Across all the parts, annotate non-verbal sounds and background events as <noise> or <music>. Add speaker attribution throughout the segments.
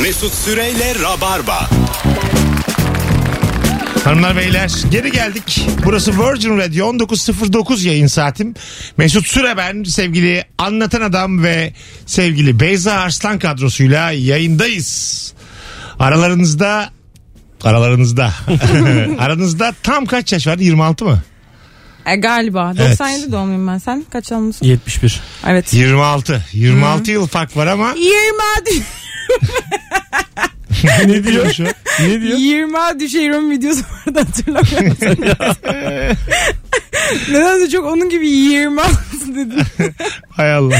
Speaker 1: Mesut Süreyle Rabarba.
Speaker 2: Hanımlar beyler geri geldik. Burası Virgin Radio 19.09 yayın saatim. Mesut Süre ben sevgili Anlatan Adam ve sevgili Beyza Arslan kadrosuyla yayındayız. Aralarınızda aralarınızda <laughs> aranızda tam kaç yaş vardı 26 mı?
Speaker 3: E, galiba. 97 doğumluyum ben. Sen kaç almışsın?
Speaker 4: 71.
Speaker 3: Evet.
Speaker 2: 26. 26 yıl fark var <laughs> ama
Speaker 3: 20 düş
Speaker 4: ne diyor şu? Ne diyor?
Speaker 3: 20 düşerim videosu <laughs> vardı hatırlamıyorum.
Speaker 4: <laughs>
Speaker 3: Nedense çok onun gibi 20 dedim.
Speaker 2: hay <laughs> Allah.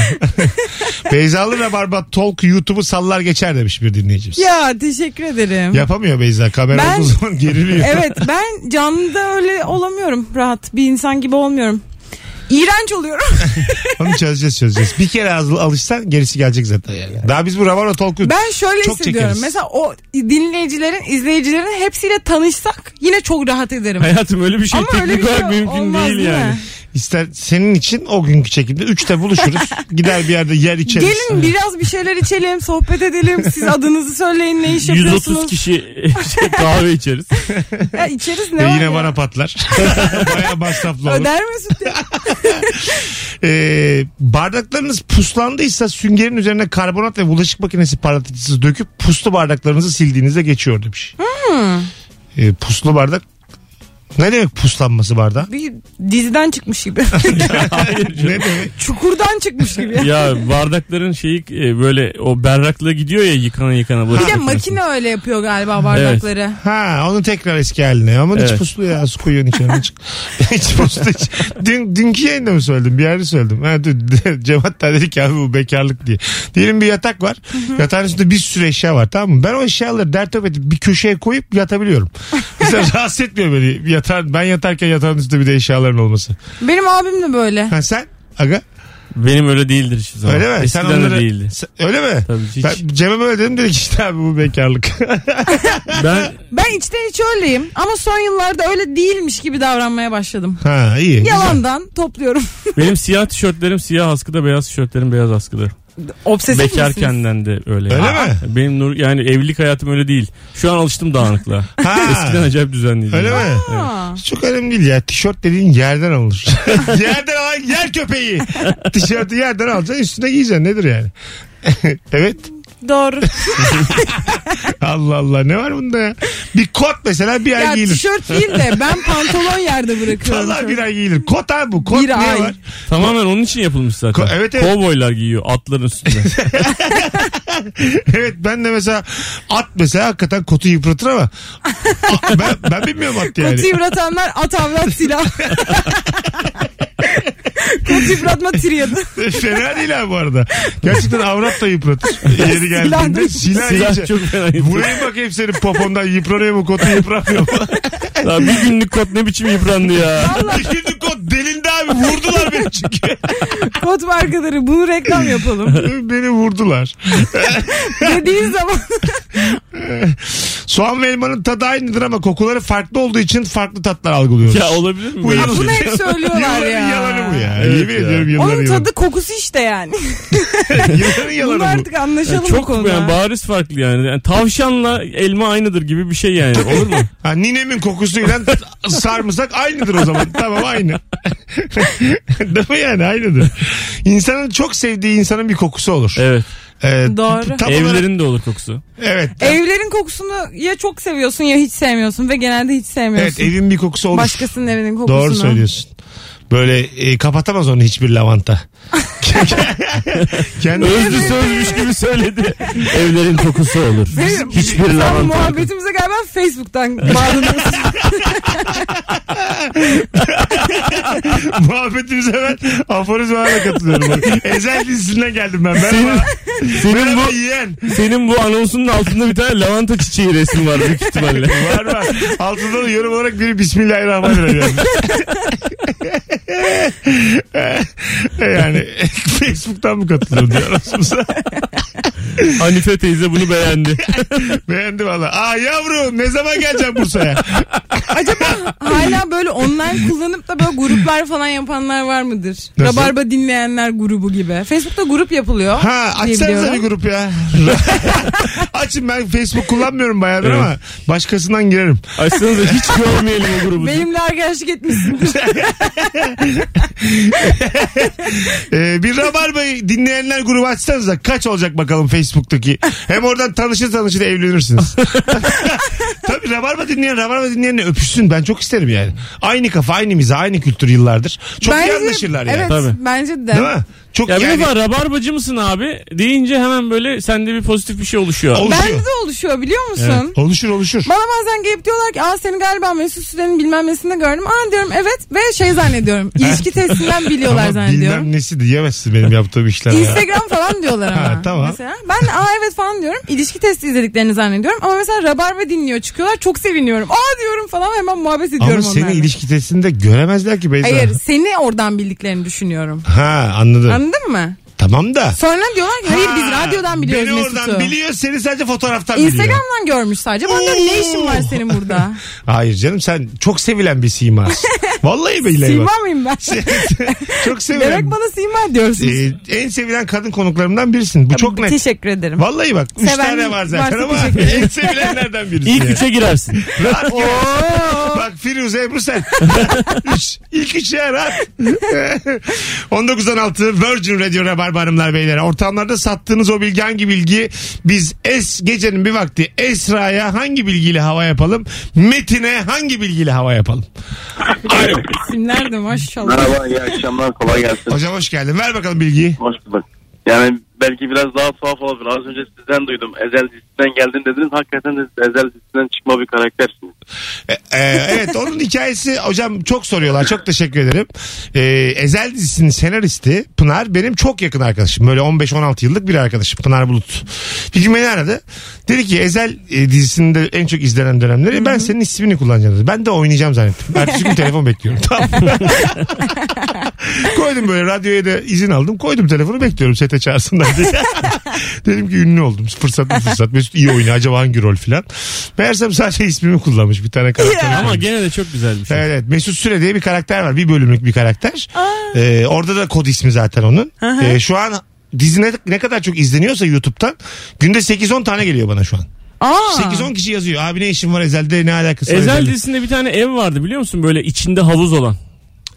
Speaker 2: Beyzalı Rabarba Talk YouTube'u sallar geçer demiş bir dinleyicimiz.
Speaker 3: Ya teşekkür ederim.
Speaker 2: Yapamıyor Beyza kamera
Speaker 3: Ben-
Speaker 2: olduğu zaman geriliyor.
Speaker 3: Evet ben canlıda öyle olamıyorum rahat. Bir insan gibi olmuyorum. İğrenç oluyorum.
Speaker 4: <laughs>
Speaker 2: Onu çözeceğiz çözeceğiz. Bir kere az- alışsan gerisi gelecek zaten yani. Daha biz bu Rabarba Talk'u
Speaker 3: Ben şöyle
Speaker 2: Çok
Speaker 3: hissediyorum.
Speaker 2: çekeriz.
Speaker 3: Mesela o dinleyicilerin, izleyicilerin hepsiyle tanışsak yine çok rahat ederim.
Speaker 4: Hayatım öyle bir şey
Speaker 3: Ama öyle
Speaker 4: teknik
Speaker 3: bir şey
Speaker 4: olarak mümkün
Speaker 3: olmaz
Speaker 4: değil, yani.
Speaker 3: mi?
Speaker 2: ister senin için o günkü çekimde üçte
Speaker 3: <laughs>
Speaker 2: buluşuruz. Gider bir yerde yer içeriz.
Speaker 3: Gelin biraz bir şeyler içelim, sohbet edelim. Siz adınızı söyleyin, ne iş
Speaker 4: 130
Speaker 3: yapıyorsunuz?
Speaker 4: kişi
Speaker 3: <laughs>
Speaker 4: şey, kahve içeriz.
Speaker 3: Ya içeriz ne
Speaker 2: Ve
Speaker 3: var
Speaker 2: E, yine
Speaker 3: ya?
Speaker 2: bana
Speaker 3: <laughs>
Speaker 2: patlar. Baya masraflı olur.
Speaker 3: Öder misin? diye.
Speaker 2: Ee, bardaklarınız puslandıysa süngerin üzerine karbonat ve bulaşık makinesi parlatıcısı döküp puslu bardaklarınızı sildiğinizde geçiyor demiş.
Speaker 3: Hmm.
Speaker 2: Ee, puslu bardak ne demek puslanması bardağı?
Speaker 3: Bir diziden çıkmış gibi.
Speaker 4: Hayır
Speaker 2: Ne
Speaker 4: canım.
Speaker 2: demek?
Speaker 3: Çukurdan çıkmış gibi.
Speaker 4: ya bardakların şeyi e, böyle o berraklığa gidiyor ya yıkana yıkana.
Speaker 3: Bir
Speaker 4: bulaşık
Speaker 3: de
Speaker 4: makinesine.
Speaker 3: makine öyle yapıyor galiba bardakları.
Speaker 2: Ha onu tekrar eski haline. Ama hiç
Speaker 4: Evet.
Speaker 2: puslu ya. Su koyuyorsun içine. Hiç, <laughs> hiç puslu hiç. Dün, dünkü yayında mı söyledim? Bir yerde söyledim. Ha, dün, <laughs> Cem hatta dedi ki abi bu bekarlık diye. Diyelim bir yatak var. Yatağın üstünde bir sürü eşya var tamam mı? Ben o eşyaları dert edip bir köşeye koyup <laughs> yatabiliyorum. Mesela rahatsız etmiyor beni. Yatağın, ben yatarken yatağın üstünde bir de eşyaların olması.
Speaker 3: Benim abim
Speaker 2: <laughs>
Speaker 3: de böyle.
Speaker 2: Ha sen? Aga
Speaker 4: Benim öyle değildir hiçbir zaman.
Speaker 2: öyle mi?
Speaker 4: Eskiden
Speaker 2: sen onları...
Speaker 4: de değildi.
Speaker 2: Sen- öyle mi?
Speaker 4: Tabii hiç.
Speaker 2: Ben Cem'e böyle dedim dedi ki işte abi bu bekarlık.
Speaker 4: Ben
Speaker 3: Ben içten içe öyleyim ama son yıllarda öyle değilmiş gibi davranmaya başladım.
Speaker 2: ha iyi. güzel.
Speaker 3: Yalandan topluyorum.
Speaker 4: benim siyah tişörtlerim siyah askıda, beyaz tişörtlerim beyaz askıda.
Speaker 3: Obsesif misiniz?
Speaker 4: Bekarkenden de öyle.
Speaker 2: Öyle
Speaker 4: yani.
Speaker 2: mi?
Speaker 4: Benim nur yani evlilik hayatım öyle değil. Şu an alıştım dağınıklığa.
Speaker 2: <laughs> Ha.
Speaker 4: Eskiden acayip düzenliydim.
Speaker 2: Öyle mi?
Speaker 3: Ha.
Speaker 2: Çok önemli değil ya. Tişört dediğin yerden alınır. <laughs> yerden alan yer köpeği. Tişörtü yerden alacaksın üstüne giyeceksin. Nedir yani? <laughs> evet.
Speaker 3: Doğru.
Speaker 2: Allah Allah ne var bunda ya? Bir kot mesela bir ay
Speaker 3: ya
Speaker 2: giyilir.
Speaker 3: tişört değil de ben pantolon yerde bırakıyorum.
Speaker 2: Vallahi
Speaker 3: çok.
Speaker 2: bir ay giyilir. Kot abi bu. Kot
Speaker 3: Bir
Speaker 2: ne
Speaker 3: ay.
Speaker 2: var? <laughs>
Speaker 4: Tamamen onun için yapılmış zaten.
Speaker 2: Ko- evet, evet.
Speaker 4: Kovboylar giyiyor atların üstünde.
Speaker 2: Evet ben de mesela at mesela hakikaten kotu yıpratır ama ben, ben bilmiyorum at yani.
Speaker 3: Kutu yıpratanlar at
Speaker 2: <laughs>
Speaker 3: avrat silah. Kutu yıpratma triyadı.
Speaker 2: <laughs> Fena değil abi bu arada. Gerçekten avrat da yıpratır. Yeri geldiğinde silah, iyice.
Speaker 4: Silah çok fena yapıyor.
Speaker 2: Vurayım bakayım senin popondan yıpranıyor mu kotu yıpranmıyor mu?
Speaker 4: Lan bir günlük kot ne biçim yıprandı ya.
Speaker 2: Düşündük o delindi abi vurdular beni çünkü. <laughs>
Speaker 3: Kot markaları bunu reklam yapalım.
Speaker 2: beni vurdular.
Speaker 3: Dediğin zaman
Speaker 2: Soğan ve elmanın tadı aynıdır ama kokuları farklı olduğu için farklı tatlar algılıyoruz.
Speaker 4: <laughs> Ya olabilir mi?
Speaker 2: Bu
Speaker 4: böyle
Speaker 2: yıl-
Speaker 4: bir
Speaker 3: bunu
Speaker 4: şey?
Speaker 3: hep söylüyorlar
Speaker 2: Yılların
Speaker 3: ya.
Speaker 2: yalanı bu ya.
Speaker 4: Evet
Speaker 2: Yemin
Speaker 4: ya.
Speaker 2: ediyorum yılların
Speaker 3: Onun
Speaker 2: yalanı.
Speaker 3: tadı kokusu işte yani.
Speaker 2: <laughs> Yılların
Speaker 3: Bunu
Speaker 2: yalanı bu.
Speaker 3: artık anlaşalım
Speaker 4: Yani
Speaker 3: bu
Speaker 4: çok
Speaker 3: konuda.
Speaker 4: yani bariz farklı yani. yani. Tavşanla elma aynıdır gibi bir şey yani. Olur mu?
Speaker 2: Ha, ninemin kokusuyla sarımsak aynıdır o zaman. Tamam aynı. <laughs> Değil mi yani aynıdır. İnsanın çok sevdiği insanın bir kokusu olur.
Speaker 4: Evet.
Speaker 2: Ee,
Speaker 3: Doğru.
Speaker 2: tam olarak-
Speaker 4: Evlerin de olur kokusu.
Speaker 2: evet.
Speaker 3: Evlerin kokusunu ya çok seviyorsun ya hiç sevmiyorsun ve genelde hiç
Speaker 2: Evet
Speaker 3: sevmiyorsun.
Speaker 2: evin bir kokusu olur.
Speaker 3: Başkasının evinin kokusunu.
Speaker 2: Doğru söylüyorsun. Böyle e, kapatamaz onu hiçbir
Speaker 4: <laughs>
Speaker 2: lavanta. Kendi
Speaker 4: Özlü sözmüş gibi söyledi. Evlerin kokusu olur.
Speaker 3: Benim-
Speaker 4: Hiçbir
Speaker 3: Sen
Speaker 4: lavanta.
Speaker 3: muhabbetimize galiba Facebook'tan bağlanıyorsun.
Speaker 2: muhabbetimize ben aforizmalarla katılıyorum. Ezel dizisinden geldim ben. Merhaba.
Speaker 4: Senin
Speaker 2: Merhaba
Speaker 4: bu
Speaker 2: yiyen.
Speaker 4: senin bu anonsunun altında bir tane lavanta çiçeği resmi var büyük ihtimalle.
Speaker 2: <laughs> Var var. Altında da yorum olarak biri Bismillahirrahmanirrahim. yazmış. <laughs> yani <laughs> Facebook'tan mı katılıyorum diyor aramızda.
Speaker 4: Hanife teyze bunu beğendi.
Speaker 2: Beğendi valla. Aa yavrum ne zaman geleceğim Bursa'ya?
Speaker 3: Acaba hala böyle online kullanıp da böyle gruplar falan yapanlar var mıdır?
Speaker 2: Nasıl?
Speaker 3: Rabarba dinleyenler grubu gibi. Facebook'ta grup yapılıyor.
Speaker 2: Ha
Speaker 3: diye
Speaker 2: açsanıza bir
Speaker 3: biliyorum.
Speaker 2: grup ya. <laughs> Açın ben Facebook kullanmıyorum bayağıdır
Speaker 4: Evet.
Speaker 2: ama başkasından girerim.
Speaker 4: Açsanıza hiç görmeyelim o grubu.
Speaker 3: Benimle arkadaşlık etmişsindir.
Speaker 2: Ee, bir Rabarba'yı dinleyenler grubu açsanıza kaç olacak bakalım Facebook'taki. Hem oradan tanışır tanışır evlenirsiniz. <laughs> Tabii Rabarba dinleyen Rabarba dinleyenle öpüşsün ben çok isterim yani. Aynı kafa aynı miza aynı kültür yıllardır. Çok iyi anlaşırlar yani.
Speaker 3: Evet
Speaker 4: Tabii.
Speaker 3: bence de.
Speaker 2: Değil mi? Çok
Speaker 4: Ya bir
Speaker 2: yani.
Speaker 4: defa rabarbacı mısın abi deyince hemen böyle sende bir pozitif bir şey oluşuyor.
Speaker 2: Ol-
Speaker 3: Bende
Speaker 2: Oluşuyor.
Speaker 3: de oluşuyor biliyor musun?
Speaker 2: Oluşur oluşur.
Speaker 3: Bana bazen gelip diyorlar ki aa seni galiba Mesut Süren'in bilmem nesinde gördüm. Aa diyorum evet ve
Speaker 2: <laughs>
Speaker 3: şey zannediyorum. İlişki testinden biliyorlar
Speaker 2: Ama
Speaker 3: zannediyorum.
Speaker 2: bilmem nesi diyemezsin benim yaptığım işler. ya.
Speaker 3: Instagram falan
Speaker 2: <laughs>
Speaker 3: diyorlar ama.
Speaker 2: Ha, tamam.
Speaker 3: Mesela ben aa evet falan diyorum. İlişki testi izlediklerini zannediyorum. Ama mesela Rabarba dinliyor çıkıyorlar. Çok seviniyorum. Aa diyorum falan hemen muhabbet ediyorum
Speaker 2: Ama seni
Speaker 3: onlarla.
Speaker 2: ilişki testinde göremezler ki Beyza.
Speaker 3: Hayır seni oradan bildiklerini düşünüyorum.
Speaker 2: Ha anladım.
Speaker 3: Anladın mı?
Speaker 2: tamam da.
Speaker 3: Sonra diyorlar ki hayır
Speaker 2: Ha,
Speaker 3: biz radyodan biliyoruz
Speaker 2: Beni
Speaker 3: Mesut'u.
Speaker 2: oradan biliyor seni sadece fotoğraftan biliyor.
Speaker 3: Instagram'dan görmüş sadece. Ben diyorum ne işin var senin
Speaker 2: <laughs>
Speaker 3: burada?
Speaker 2: Hayır canım sen çok sevilen bir
Speaker 3: <laughs>
Speaker 2: simasın. Vallahi billahi
Speaker 3: Sima
Speaker 2: bak.
Speaker 3: mıyım
Speaker 2: <laughs>
Speaker 3: ben?
Speaker 2: Çok
Speaker 3: <laughs> Demek
Speaker 2: sevilen.
Speaker 3: bana Sima diyorsunuz.
Speaker 2: Ee, en sevilen kadın konuklarımdan birisin. Bu çok net.
Speaker 3: Teşekkür ederim.
Speaker 2: Vallahi bak. Üç
Speaker 3: Seven
Speaker 2: tane var zaten
Speaker 3: varsa
Speaker 2: ama
Speaker 3: teşekkür
Speaker 2: en sevilenlerden birisin.
Speaker 4: İlk
Speaker 2: yani.
Speaker 4: üçe girersin.
Speaker 2: <laughs> Rahat gel. Bak Firuze Ebru sen. Üç, ilk üçe rahat. <laughs> 19.16 Virgin Radio Rabarba Hanımlar Beyler. Ortamlarda sattığınız o bilgi hangi bilgi? Biz es gecenin bir vakti Esra'ya hangi bilgiyle hava yapalım? Metin'e hangi bilgiyle hava yapalım?
Speaker 3: İsimler de maşallah.
Speaker 5: Merhaba, iyi akşamlar, kolay gelsin.
Speaker 2: Hocam hoş geldin. Ver bakalım bilgiyi.
Speaker 5: Hoş bulduk. Yani belki biraz daha tuhaf olabilir. Az önce sizden duydum. Ezel dizisinden geldin dediniz. Hakikaten de siz Ezel dizisinden çıkma bir karaktersiniz.
Speaker 2: E, e, evet onun hikayesi hocam çok soruyorlar. Çok teşekkür ederim. E, Ezel dizisinin senaristi Pınar benim çok yakın arkadaşım. Böyle 15-16 yıllık bir arkadaşım Pınar Bulut. Bir gün beni aradı. Dedi ki Ezel e, dizisinde en çok izlenen dönemleri ben senin ismini kullanacağım dedi. Ben de oynayacağım zannettim. Ertesi gün telefon bekliyorum. Tamam. koydum böyle radyoya da izin aldım. Koydum telefonu bekliyorum sete çağırsınlar diye. <laughs> Dedim ki ünlü oldum. Fırsat mı fırsat. Mesut iyi oynuyor. Acaba hangi rol filan. Meğersem sadece ismimi kullanmış bir tane karakter.
Speaker 4: Ama gene de çok güzel bir şey.
Speaker 2: Evet, evet. Mesut Süre diye bir karakter var. Bir bölümlük bir karakter. Ee, orada da kod ismi zaten onun. Ee, şu an dizi ne, ne kadar çok izleniyorsa YouTube'dan günde 8-10 tane geliyor bana şu an.
Speaker 3: Aa.
Speaker 2: 8-10 kişi yazıyor. Abi ne işin var Ezel'de ne alakası var?
Speaker 4: Ezel
Speaker 2: Ezel'le?
Speaker 4: dizisinde bir tane ev vardı biliyor musun? Böyle içinde havuz olan.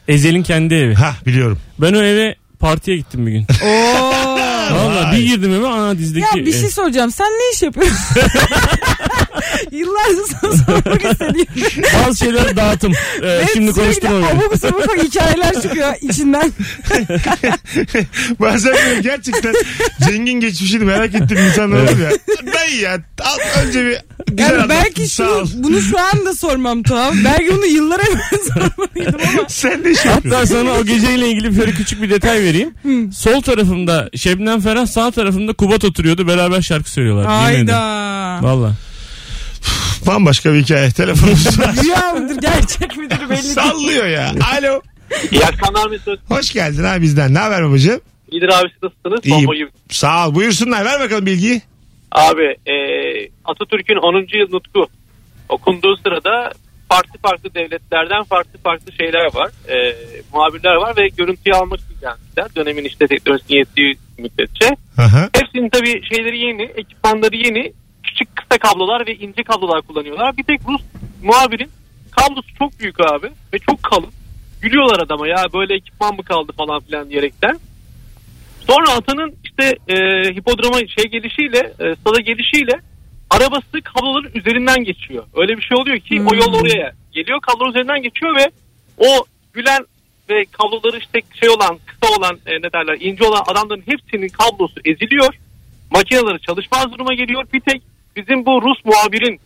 Speaker 4: Ezel'in kendi evi.
Speaker 2: Ha biliyorum. <laughs>
Speaker 4: Ben o eve partiye gittim bir gün.
Speaker 2: <laughs>
Speaker 4: Valla bir girdim eve ana
Speaker 3: Ya
Speaker 4: dizdeki.
Speaker 3: bir şey
Speaker 2: e,
Speaker 4: <laughs> ev.
Speaker 3: soracağım. Sen ne iş yapıyorsun?
Speaker 2: <laughs>
Speaker 3: Yıllardır sana sormak istediğim.
Speaker 4: Bazı
Speaker 3: <laughs>
Speaker 4: şeyler dağıtım. Ee, şimdi konuştum
Speaker 3: onu.
Speaker 4: onu.
Speaker 3: Abuk sabuk hikayeler çıkıyor içinden.
Speaker 2: Bazen böyle gerçekten zengin geçmişini merak ettiğim insanlar olur ya. Dayı ya. Al, önce bir güzel
Speaker 3: Yani
Speaker 2: anlattın,
Speaker 3: belki
Speaker 2: sağ ol.
Speaker 3: şunu, bunu şu anda sormam tuhaf. Belki bunu yıllar evvel <laughs> sormalıydım ama.
Speaker 2: Sen de şey
Speaker 4: Hatta sana o geceyle ilgili şöyle küçük bir detay vereyim. Sol tarafımda Şebnem Ferah, sağ tarafımda Kubat oturuyordu. Beraber şarkı söylüyorlar. Yemin ederim.
Speaker 3: Hayda.
Speaker 4: Valla.
Speaker 2: Bambaşka bir hikaye. Telefonumuz
Speaker 3: Rüya mıdır gerçek midir <laughs> belli değil.
Speaker 2: sallıyor ya. Alo.
Speaker 5: İyi akşamlar Mesut.
Speaker 2: Hoş geldin abi bizden. Ne haber babacığım?
Speaker 5: İyidir abi siz nasılsınız?
Speaker 2: İyiyim.
Speaker 5: Bomba gibi.
Speaker 2: Sağ ol. Buyursunlar. Ver bakalım bilgiyi.
Speaker 5: Abi e, Atatürk'ün 10. yıl nutku okunduğu sırada farklı farklı devletlerden farklı farklı şeyler var. E, muhabirler var ve görüntüyü almak için gelmişler. Dönemin işte teknolojisinin yettiği müddetçe.
Speaker 2: Aha.
Speaker 5: Hepsinin tabii şeyleri yeni, ekipmanları yeni. Küçük kısa kablolar ve ince kablolar kullanıyorlar. Bir tek Rus muhabirin kablosu çok büyük abi ve çok kalın. Gülüyorlar adama ya böyle ekipman mı kaldı falan filan diyerekten. Sonra atanın işte e, hipodroma şey gelişiyle, e, stada gelişiyle arabası kabloların üzerinden geçiyor. Öyle bir şey oluyor ki o yol oraya geliyor kabloların üzerinden geçiyor ve o gülen ve kabloları işte şey olan kısa olan e, ne derler ince olan adamların hepsinin kablosu eziliyor. Makineleri çalışmaz duruma geliyor. Bir tek bizim bu Rus muhabirin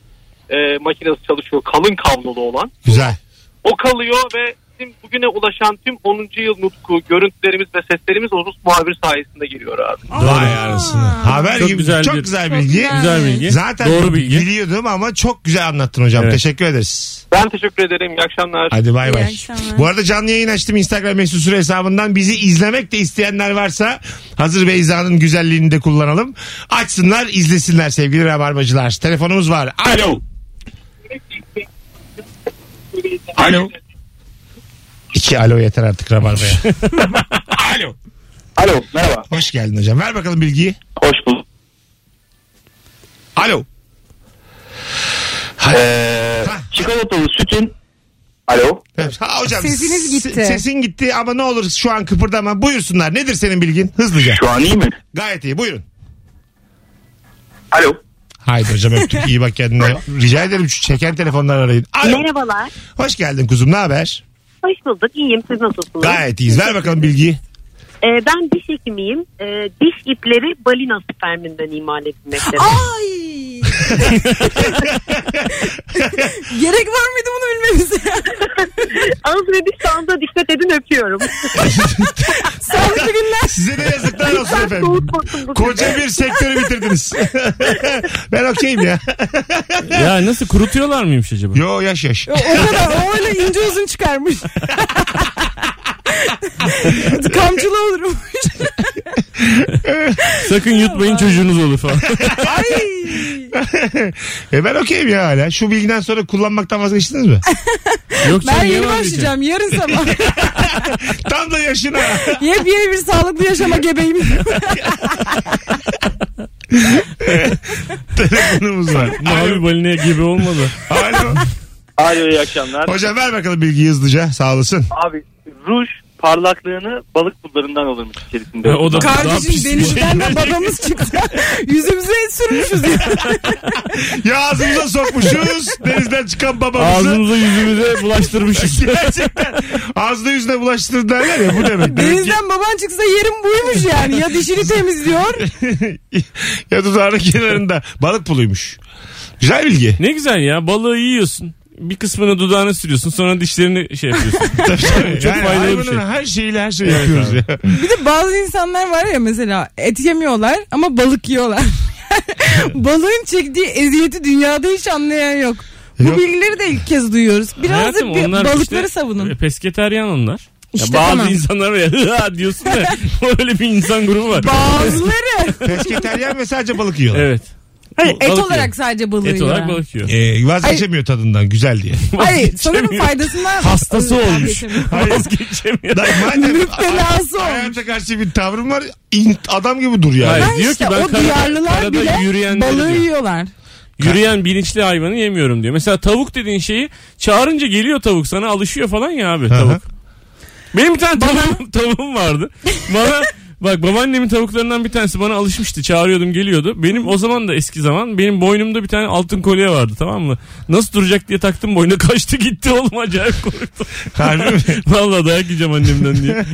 Speaker 5: e, makinesi çalışıyor kalın kablolu olan.
Speaker 2: Güzel.
Speaker 5: O kalıyor ve bizim bugüne ulaşan tüm 10. yıl nutku, görüntülerimiz ve seslerimiz o Rus muhabir sayesinde geliyor abi.
Speaker 2: Vay arasını. Haber
Speaker 4: Çok
Speaker 2: gibi.
Speaker 4: güzel
Speaker 2: çok
Speaker 4: bir-
Speaker 2: güzel
Speaker 3: Çok
Speaker 2: bilgi.
Speaker 3: güzel.
Speaker 4: Güzel bilgi.
Speaker 2: Zaten
Speaker 4: Doğru bilgi.
Speaker 2: biliyordum ama çok güzel anlattın hocam.
Speaker 4: Evet.
Speaker 2: Teşekkür ederiz.
Speaker 5: Ben teşekkür ederim. İyi akşamlar.
Speaker 2: Hadi bay
Speaker 3: İyi
Speaker 2: bay.
Speaker 3: akşamlar.
Speaker 2: Bu arada canlı yayın açtım Instagram mesut süre hesabından. Bizi izlemek de isteyenler varsa hazır Beyza'nın güzelliğini de kullanalım. Açsınlar izlesinler sevgili rabarbacılar. Telefonumuz var. Alo. Alo. İki alo yeter artık
Speaker 6: <laughs>
Speaker 2: Rabarba'ya. alo.
Speaker 6: Alo merhaba.
Speaker 2: Hoş geldin hocam. Ver bakalım bilgiyi.
Speaker 6: Hoş bulduk.
Speaker 2: Alo. Hadi.
Speaker 6: Ee, çikolatalı sütün. Alo.
Speaker 2: Ha, hocam
Speaker 3: Sesiniz
Speaker 2: se-
Speaker 3: gitti.
Speaker 2: Sesin gitti ama ne olur şu an kıpırdama. Buyursunlar. Nedir senin bilgin? Hızlıca.
Speaker 6: Şu an iyi mi?
Speaker 2: Gayet iyi. Buyurun.
Speaker 6: Alo.
Speaker 2: Haydi hocam öptük. İyi bak kendine. <laughs> Rica ederim şu çeken telefonları arayın. Alo.
Speaker 7: Merhabalar.
Speaker 2: Hoş geldin kuzum. Ne haber?
Speaker 7: Hoş bulduk. İyiyim. Siz nasılsınız?
Speaker 2: Gayet iyiyiz. Ver bakalım bilgiyi.
Speaker 7: Ee, ben diş hekimiyim. Ee, diş ipleri balina sperminden imal edilmektedir.
Speaker 3: Ay. Gerek var mıydı bunu bilmemize? <laughs>
Speaker 7: Ağız ve diş sağlığına dikkat edin öpüyorum.
Speaker 3: Sağlıklı günler.
Speaker 2: Size de yazıklar olsun
Speaker 7: Lütfen
Speaker 2: efendim.
Speaker 7: soğutmasın bu
Speaker 2: Koca bir sektörü bitirdiniz. ben okeyim ya.
Speaker 4: Ya nasıl kurutuyorlar mıymış acaba?
Speaker 2: Yo yaş yaş.
Speaker 3: O kadar o öyle ince uzun çıkarmış. <laughs> Kamçılı olurum.
Speaker 4: Sakın yutmayın çocuğunuz
Speaker 3: <laughs>
Speaker 4: olur falan.
Speaker 3: Ay.
Speaker 2: <laughs> E ben okeyim ya hala. Şu bilgiden sonra kullanmaktan vazgeçtiniz mi?
Speaker 4: Yok
Speaker 3: Ben
Speaker 4: canım, niye
Speaker 3: yeni
Speaker 4: vazgeçeceksin?
Speaker 3: başlayacağım yarın sabah.
Speaker 4: <laughs>
Speaker 2: Tam da yaşına. <laughs>
Speaker 3: Yepyeni bir sağlıklı yaşama gebeyim.
Speaker 2: Telefonumuz var.
Speaker 4: Mavi balina
Speaker 3: <laughs>
Speaker 4: gibi olmadı.
Speaker 2: Alo.
Speaker 5: Alo iyi akşamlar.
Speaker 2: Hocam ver bakalım bilgiyi hızlıca. Sağ olasın.
Speaker 5: Abi ruj parlaklığını balık pullarından olurmuş içerisinde.
Speaker 4: E, o da daha pis
Speaker 3: Kardeşim
Speaker 4: bir
Speaker 3: denizden
Speaker 4: şey.
Speaker 3: de babamız
Speaker 4: <laughs>
Speaker 3: çıktı. Yüzümüze et sürmüşüz ya.
Speaker 2: Ya ağzımıza sokmuşuz. Denizden çıkan babamızı.
Speaker 4: Ağzımıza
Speaker 3: <laughs>
Speaker 4: yüzümüze bulaştırmışız.
Speaker 2: Gerçekten ağzına yüzüne bulaştırdı derler ya bu demek. Demek ki-
Speaker 3: Denizden baban çıksa yerim buymuş yani. Ya dişini temizliyor.
Speaker 2: ya dudağının kenarında balık puluymuş. Güzel bilgi.
Speaker 4: ne güzel ya balığı yiyorsun. Bir kısmını dudağına sürüyorsun sonra dişlerini
Speaker 3: <laughs>
Speaker 4: şey yapıyorsun.
Speaker 2: Tabii, tabii.
Speaker 4: Çok faydalı bir
Speaker 2: hayvanın
Speaker 4: şey.
Speaker 2: Her şeyiyle her şeyi yapıyoruz ya.
Speaker 3: Bir de bazı insanlar var ya mesela et yemiyorlar ama balık yiyorlar.
Speaker 4: <laughs>
Speaker 3: Balığın çektiği eziyeti dünyada hiç anlayan yok. Bu
Speaker 2: Yok.
Speaker 3: bilgileri de ilk kez duyuyoruz. Biraz
Speaker 4: Hayatım,
Speaker 3: da bir-
Speaker 4: onlar
Speaker 3: balıkları
Speaker 4: işte, e,
Speaker 3: savunun.
Speaker 4: Pesketeryan onlar.
Speaker 3: İşte
Speaker 4: ya bazı
Speaker 3: tamam.
Speaker 4: insanlar var ya "Hıa" diyorsun da
Speaker 3: <laughs>
Speaker 4: öyle bir insan grubu var. <laughs>
Speaker 3: Bazıları.
Speaker 2: Pesketeryen ve sadece balık yiyorlar.
Speaker 4: evet.
Speaker 3: Hayır, et
Speaker 4: Balık
Speaker 3: olarak
Speaker 4: yiyor.
Speaker 3: sadece balığı
Speaker 4: Et olarak
Speaker 3: yiyorlar.
Speaker 4: balık yiyor.
Speaker 2: Ee, vazgeçemiyor tadından güzel diye.
Speaker 4: <laughs>
Speaker 3: Hayır sanırım
Speaker 4: Geçemiyor.
Speaker 3: faydasından
Speaker 4: Hastası
Speaker 3: Özür
Speaker 4: olmuş.
Speaker 3: dilerim.
Speaker 4: Vazgeçemiyor. <laughs>
Speaker 2: Lan madem
Speaker 3: Müptelası olmuş.
Speaker 2: hayata karşı bir tavrım var in- adam gibi dur yani.
Speaker 4: Hayır.
Speaker 3: Ha
Speaker 4: Diyor ki
Speaker 3: işte
Speaker 4: ben
Speaker 3: o
Speaker 4: karada-
Speaker 3: duyarlılar
Speaker 4: karada
Speaker 3: bile
Speaker 4: yürüyenleri
Speaker 3: balığı
Speaker 4: diyor.
Speaker 3: yiyorlar.
Speaker 4: Yürüyen bilinçli hayvanı yemiyorum diyor. Mesela tavuk dediğin şeyi çağırınca geliyor tavuk sana alışıyor falan ya abi
Speaker 2: hı.
Speaker 4: tavuk. Benim bir tane tavuğum, tavuğum vardı. Bana bak babaannemin tavuklarından bir tanesi bana alışmıştı. Çağırıyordum geliyordu. Benim o zaman da eski zaman benim boynumda bir tane altın kolye vardı tamam mı? Nasıl duracak diye taktım boyuna kaçtı gitti oğlum acayip korktum.
Speaker 2: Harbi mi?
Speaker 4: Vallahi dayak yiyeceğim annemden
Speaker 3: <laughs>
Speaker 4: diye.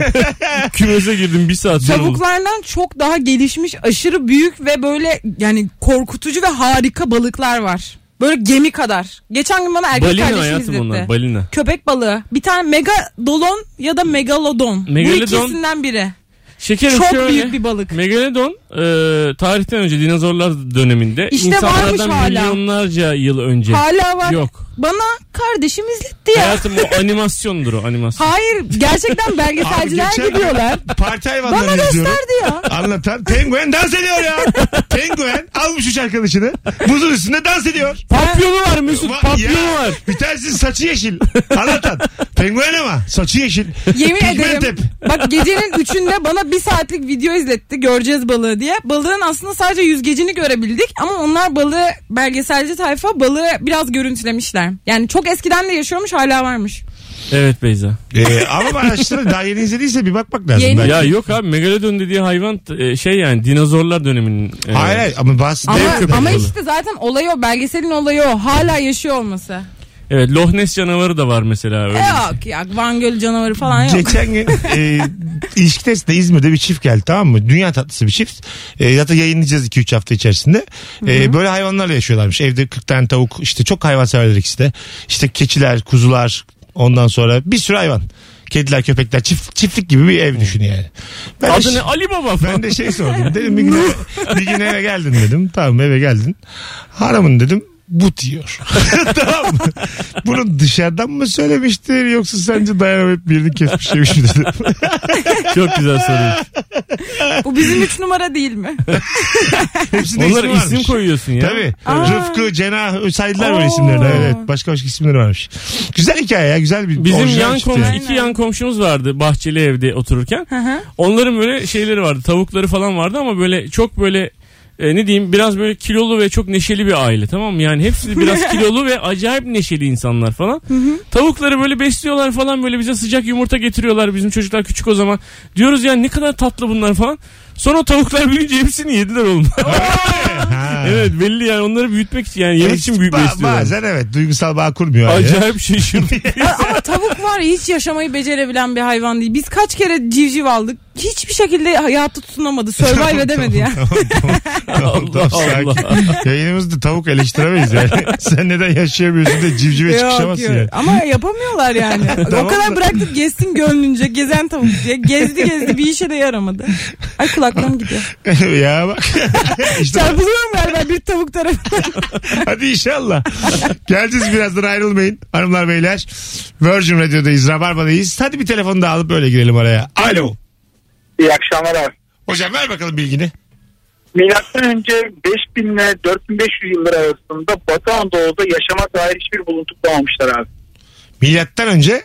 Speaker 4: Kümese girdim bir saat sonra oldu.
Speaker 3: Tavuklardan çok daha gelişmiş, aşırı büyük ve böyle yani korkutucu ve harika balıklar var. Böyle gemi kadar. Geçen gün bana erkek
Speaker 4: Balina
Speaker 3: kardeşim
Speaker 4: hayatım
Speaker 3: izletti.
Speaker 4: onlar balina.
Speaker 3: Köpek balığı. Bir tane megalodon ya da megalodon. Bu
Speaker 4: Megalodon-
Speaker 3: ikisinden biri.
Speaker 4: Şekerim
Speaker 3: Çok
Speaker 4: şöyle.
Speaker 3: büyük bir balık.
Speaker 4: Megalodon e, tarihten önce dinozorlar döneminde
Speaker 3: İşte varmış
Speaker 4: insanlardan
Speaker 3: hala.
Speaker 4: milyonlarca yıl önce.
Speaker 3: Hala var.
Speaker 4: Yok.
Speaker 3: Bana kardeşim izletti ya.
Speaker 4: Hayatım o animasyondur o animasyon.
Speaker 3: Hayır
Speaker 4: <laughs>
Speaker 3: gerçekten belgeselciler
Speaker 2: Abi geçen-
Speaker 3: gidiyorlar.
Speaker 2: Parti hayvanları
Speaker 3: Bana
Speaker 2: izliyorum.
Speaker 3: gösterdi ya.
Speaker 2: Anlatan penguen dans ediyor ya. penguen almış üç arkadaşını. Buzun üstünde dans ediyor.
Speaker 4: Papyonu var Mesut
Speaker 2: Va-
Speaker 4: papyonu
Speaker 2: ya,
Speaker 4: var.
Speaker 2: Bir tanesi saçı yeşil. Anlatan. Penguen ama saçı yeşil.
Speaker 3: Yemin
Speaker 2: Pigment
Speaker 3: ederim. Bak gecenin üçünde bana bir saatlik video izletti göreceğiz balığı diye. Balığın aslında sadece yüzgecini görebildik ama onlar balığı belgeselci tayfa balığı biraz görüntülemişler. Yani çok eskiden de yaşıyormuş hala varmış.
Speaker 4: Evet Beyza.
Speaker 2: Ee, ama araştırın daha yeni izlediyse bir bakmak lazım.
Speaker 3: Yeni.
Speaker 2: belki.
Speaker 4: Ya yok abi Megalodon dediği hayvan e, şey yani dinozorlar döneminin. e,
Speaker 2: Hayır hayır ama bazı
Speaker 3: Ama,
Speaker 2: dev köpek
Speaker 3: ama
Speaker 2: balığı.
Speaker 3: işte zaten olayı o belgeselin olayı o hala yaşıyor olması. E
Speaker 4: Evet Loch Ness canavarı da var mesela öyle.
Speaker 3: Yok
Speaker 2: şey.
Speaker 3: ya Van Göl canavarı falan yok.
Speaker 2: Geçen gün e, ilişki testinde İzmir'de bir çift geldi tamam mı? Dünya tatlısı bir çift. E, zaten yayınlayacağız 2-3 hafta içerisinde. E, böyle hayvanlarla yaşıyorlarmış. Evde 40 tane tavuk işte çok hayvanseverler ikisi de. İşte keçiler, kuzular ondan sonra bir sürü hayvan. Kediler, köpekler çift, çiftlik gibi bir ev düşün yani. Ben de
Speaker 4: Adı
Speaker 2: şey-
Speaker 4: ne Ali Baba falan.
Speaker 2: Ben de şey sordum. Dedim bir gün, eve, bir gün eve geldin dedim. Tamam eve geldin. Haramın dedim. but yiyor. <laughs> tamam mı? Bunu dışarıdan mı söylemiştir yoksa sence dayanamayıp birini kesmiş yemiş mi
Speaker 4: <laughs>
Speaker 2: dedi.
Speaker 4: Çok güzel
Speaker 2: <laughs>
Speaker 4: soru.
Speaker 3: Bu bizim üç numara değil mi?
Speaker 2: Hepsinde
Speaker 4: Onlara
Speaker 2: ismi
Speaker 4: isim
Speaker 2: varmış.
Speaker 4: koyuyorsun ya.
Speaker 2: Tabii.
Speaker 3: Aa.
Speaker 2: Rıfkı, Cenah saydılar böyle
Speaker 3: Oo.
Speaker 2: isimlerini. Evet. Başka başka isimleri varmış. Güzel hikaye ya. Güzel bir
Speaker 4: Bizim
Speaker 2: orijinal
Speaker 4: yan
Speaker 2: çıktı
Speaker 4: komşu,
Speaker 2: yani.
Speaker 4: iki yan komşumuz vardı bahçeli evde otururken.
Speaker 3: hı.
Speaker 4: Onların böyle şeyleri vardı. Tavukları falan vardı ama böyle çok böyle e, ne diyeyim biraz böyle kilolu ve çok neşeli bir aile tamam mı? Yani hepsi biraz kilolu ve acayip neşeli insanlar falan. Tavukları böyle besliyorlar falan böyle bize sıcak yumurta getiriyorlar bizim çocuklar küçük o zaman. Diyoruz ya ne kadar tatlı bunlar falan. Sonra o tavuklar büyüyünce hepsini
Speaker 2: <laughs>
Speaker 4: yediler oğlum.
Speaker 2: Ha.
Speaker 4: <laughs> evet belli yani onları büyütmek için yani yemek için büyük
Speaker 2: Ba-
Speaker 4: besliyorlar.
Speaker 2: Bazen evet duygusal bağ kurmuyor. aile.
Speaker 4: Acayip
Speaker 2: <laughs>
Speaker 4: şey şaşırdım.
Speaker 3: Ama tavuk var ya hiç yaşamayı becerebilen bir hayvan değil. Biz kaç kere civciv aldık. Hiçbir şekilde hayatta
Speaker 2: <laughs>
Speaker 3: tutunamadı. Survive edemedi ya.
Speaker 4: <laughs>
Speaker 2: Tamam, tamam,
Speaker 4: Allah
Speaker 2: sakin.
Speaker 4: Allah.
Speaker 2: Yayınımızda tavuk eleştiremeyiz
Speaker 4: <laughs>
Speaker 2: yani. Sen neden yaşayamıyorsun da civcive çıkışamazsın yani.
Speaker 3: Ama yapamıyorlar yani.
Speaker 2: <laughs> Tamam
Speaker 3: o kadar
Speaker 2: da-
Speaker 3: bıraktık gezsin gönlünce. Gezen tavuk diye. Gezdi gezdi bir işe de yaramadı. Ay kulaklığım gidiyor.
Speaker 2: ya <laughs> bak. işte
Speaker 3: Çarpılıyorum galiba bir
Speaker 2: <laughs>
Speaker 3: tavuk tarafından.
Speaker 2: hadi inşallah. Geleceğiz birazdan ayrılmayın. Hanımlar beyler. Virgin Radio'dayız. Rabarba'dayız. Hadi bir telefonu da alıp öyle girelim araya. Alo.
Speaker 6: İyi akşamlar abi.
Speaker 2: Hocam ver bakalım bilgini.
Speaker 6: Milattan önce 5000 ile 4500 yılları arasında Batı Anadolu'da yaşama dair hiçbir buluntu bulamamışlar abi.
Speaker 2: Milattan önce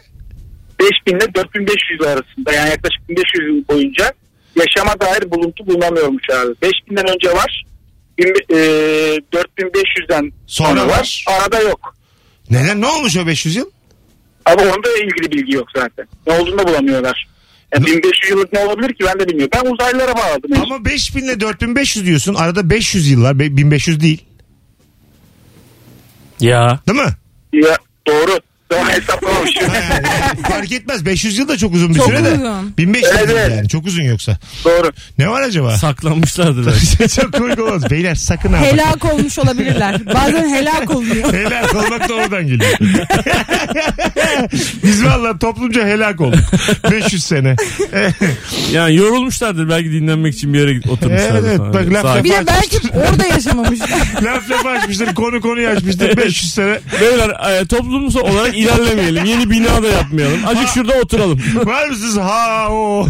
Speaker 6: 5000 ile 4500 yıl arasında yani yaklaşık 1500 yıl boyunca yaşama dair buluntu bulunamıyormuş abi. 5000'den önce var. bin- e, 4500'den
Speaker 2: Sonra var.
Speaker 6: Arada yok.
Speaker 2: neden ne olmuş o 500 yıl?
Speaker 6: Ama onda ilgili bilgi yok zaten. Ne olduğunu da bulamıyorlar. Yani 1500 yıllık ne olabilir ki ben de bilmiyorum. Ben uzaylılara bağladım.
Speaker 2: Ama 5000 ile 4500 diyorsun. Arada 500 yıllar. be- 1500 değil.
Speaker 4: ya.
Speaker 2: Değil mi?
Speaker 6: Ya, doğru. Daha <laughs> hesaplamamışım.
Speaker 2: Ha, yani fark etmez. 500 yıl da çok uzun bir
Speaker 3: Çok
Speaker 2: süre de.
Speaker 3: uzun.
Speaker 2: 1500
Speaker 6: Evet,
Speaker 2: yıl
Speaker 6: evet.
Speaker 2: yani. Çok uzun yoksa.
Speaker 6: doğru.
Speaker 2: Ne var acaba?
Speaker 4: Saklanmışlardır.
Speaker 2: <laughs>
Speaker 4: belki.
Speaker 2: çok komik olmaz. Beyler sakın ha. bak.
Speaker 3: helak olmuş olabilirler. Bazen helak oluyor.
Speaker 2: Helak olmak da oradan geliyor. <laughs> Biz valla toplumca helak olduk. 500 sene.
Speaker 4: Yani yorulmuşlardır belki dinlenmek için bir yere git- oturmuşlardır.
Speaker 2: Evet,
Speaker 4: falan.
Speaker 2: bak laf
Speaker 4: Sakin.
Speaker 3: Bir de belki orada yaşamamışlar.
Speaker 2: Laf lafı açmıştır, konu konuyu açmıştır. 500 sene.
Speaker 4: Beyler e, toplumsal olarak ilerlemeyelim. Yeni bina da yapmayalım. Azıcık şurada <laughs> oturalım.
Speaker 2: Var mısınız? Ha o.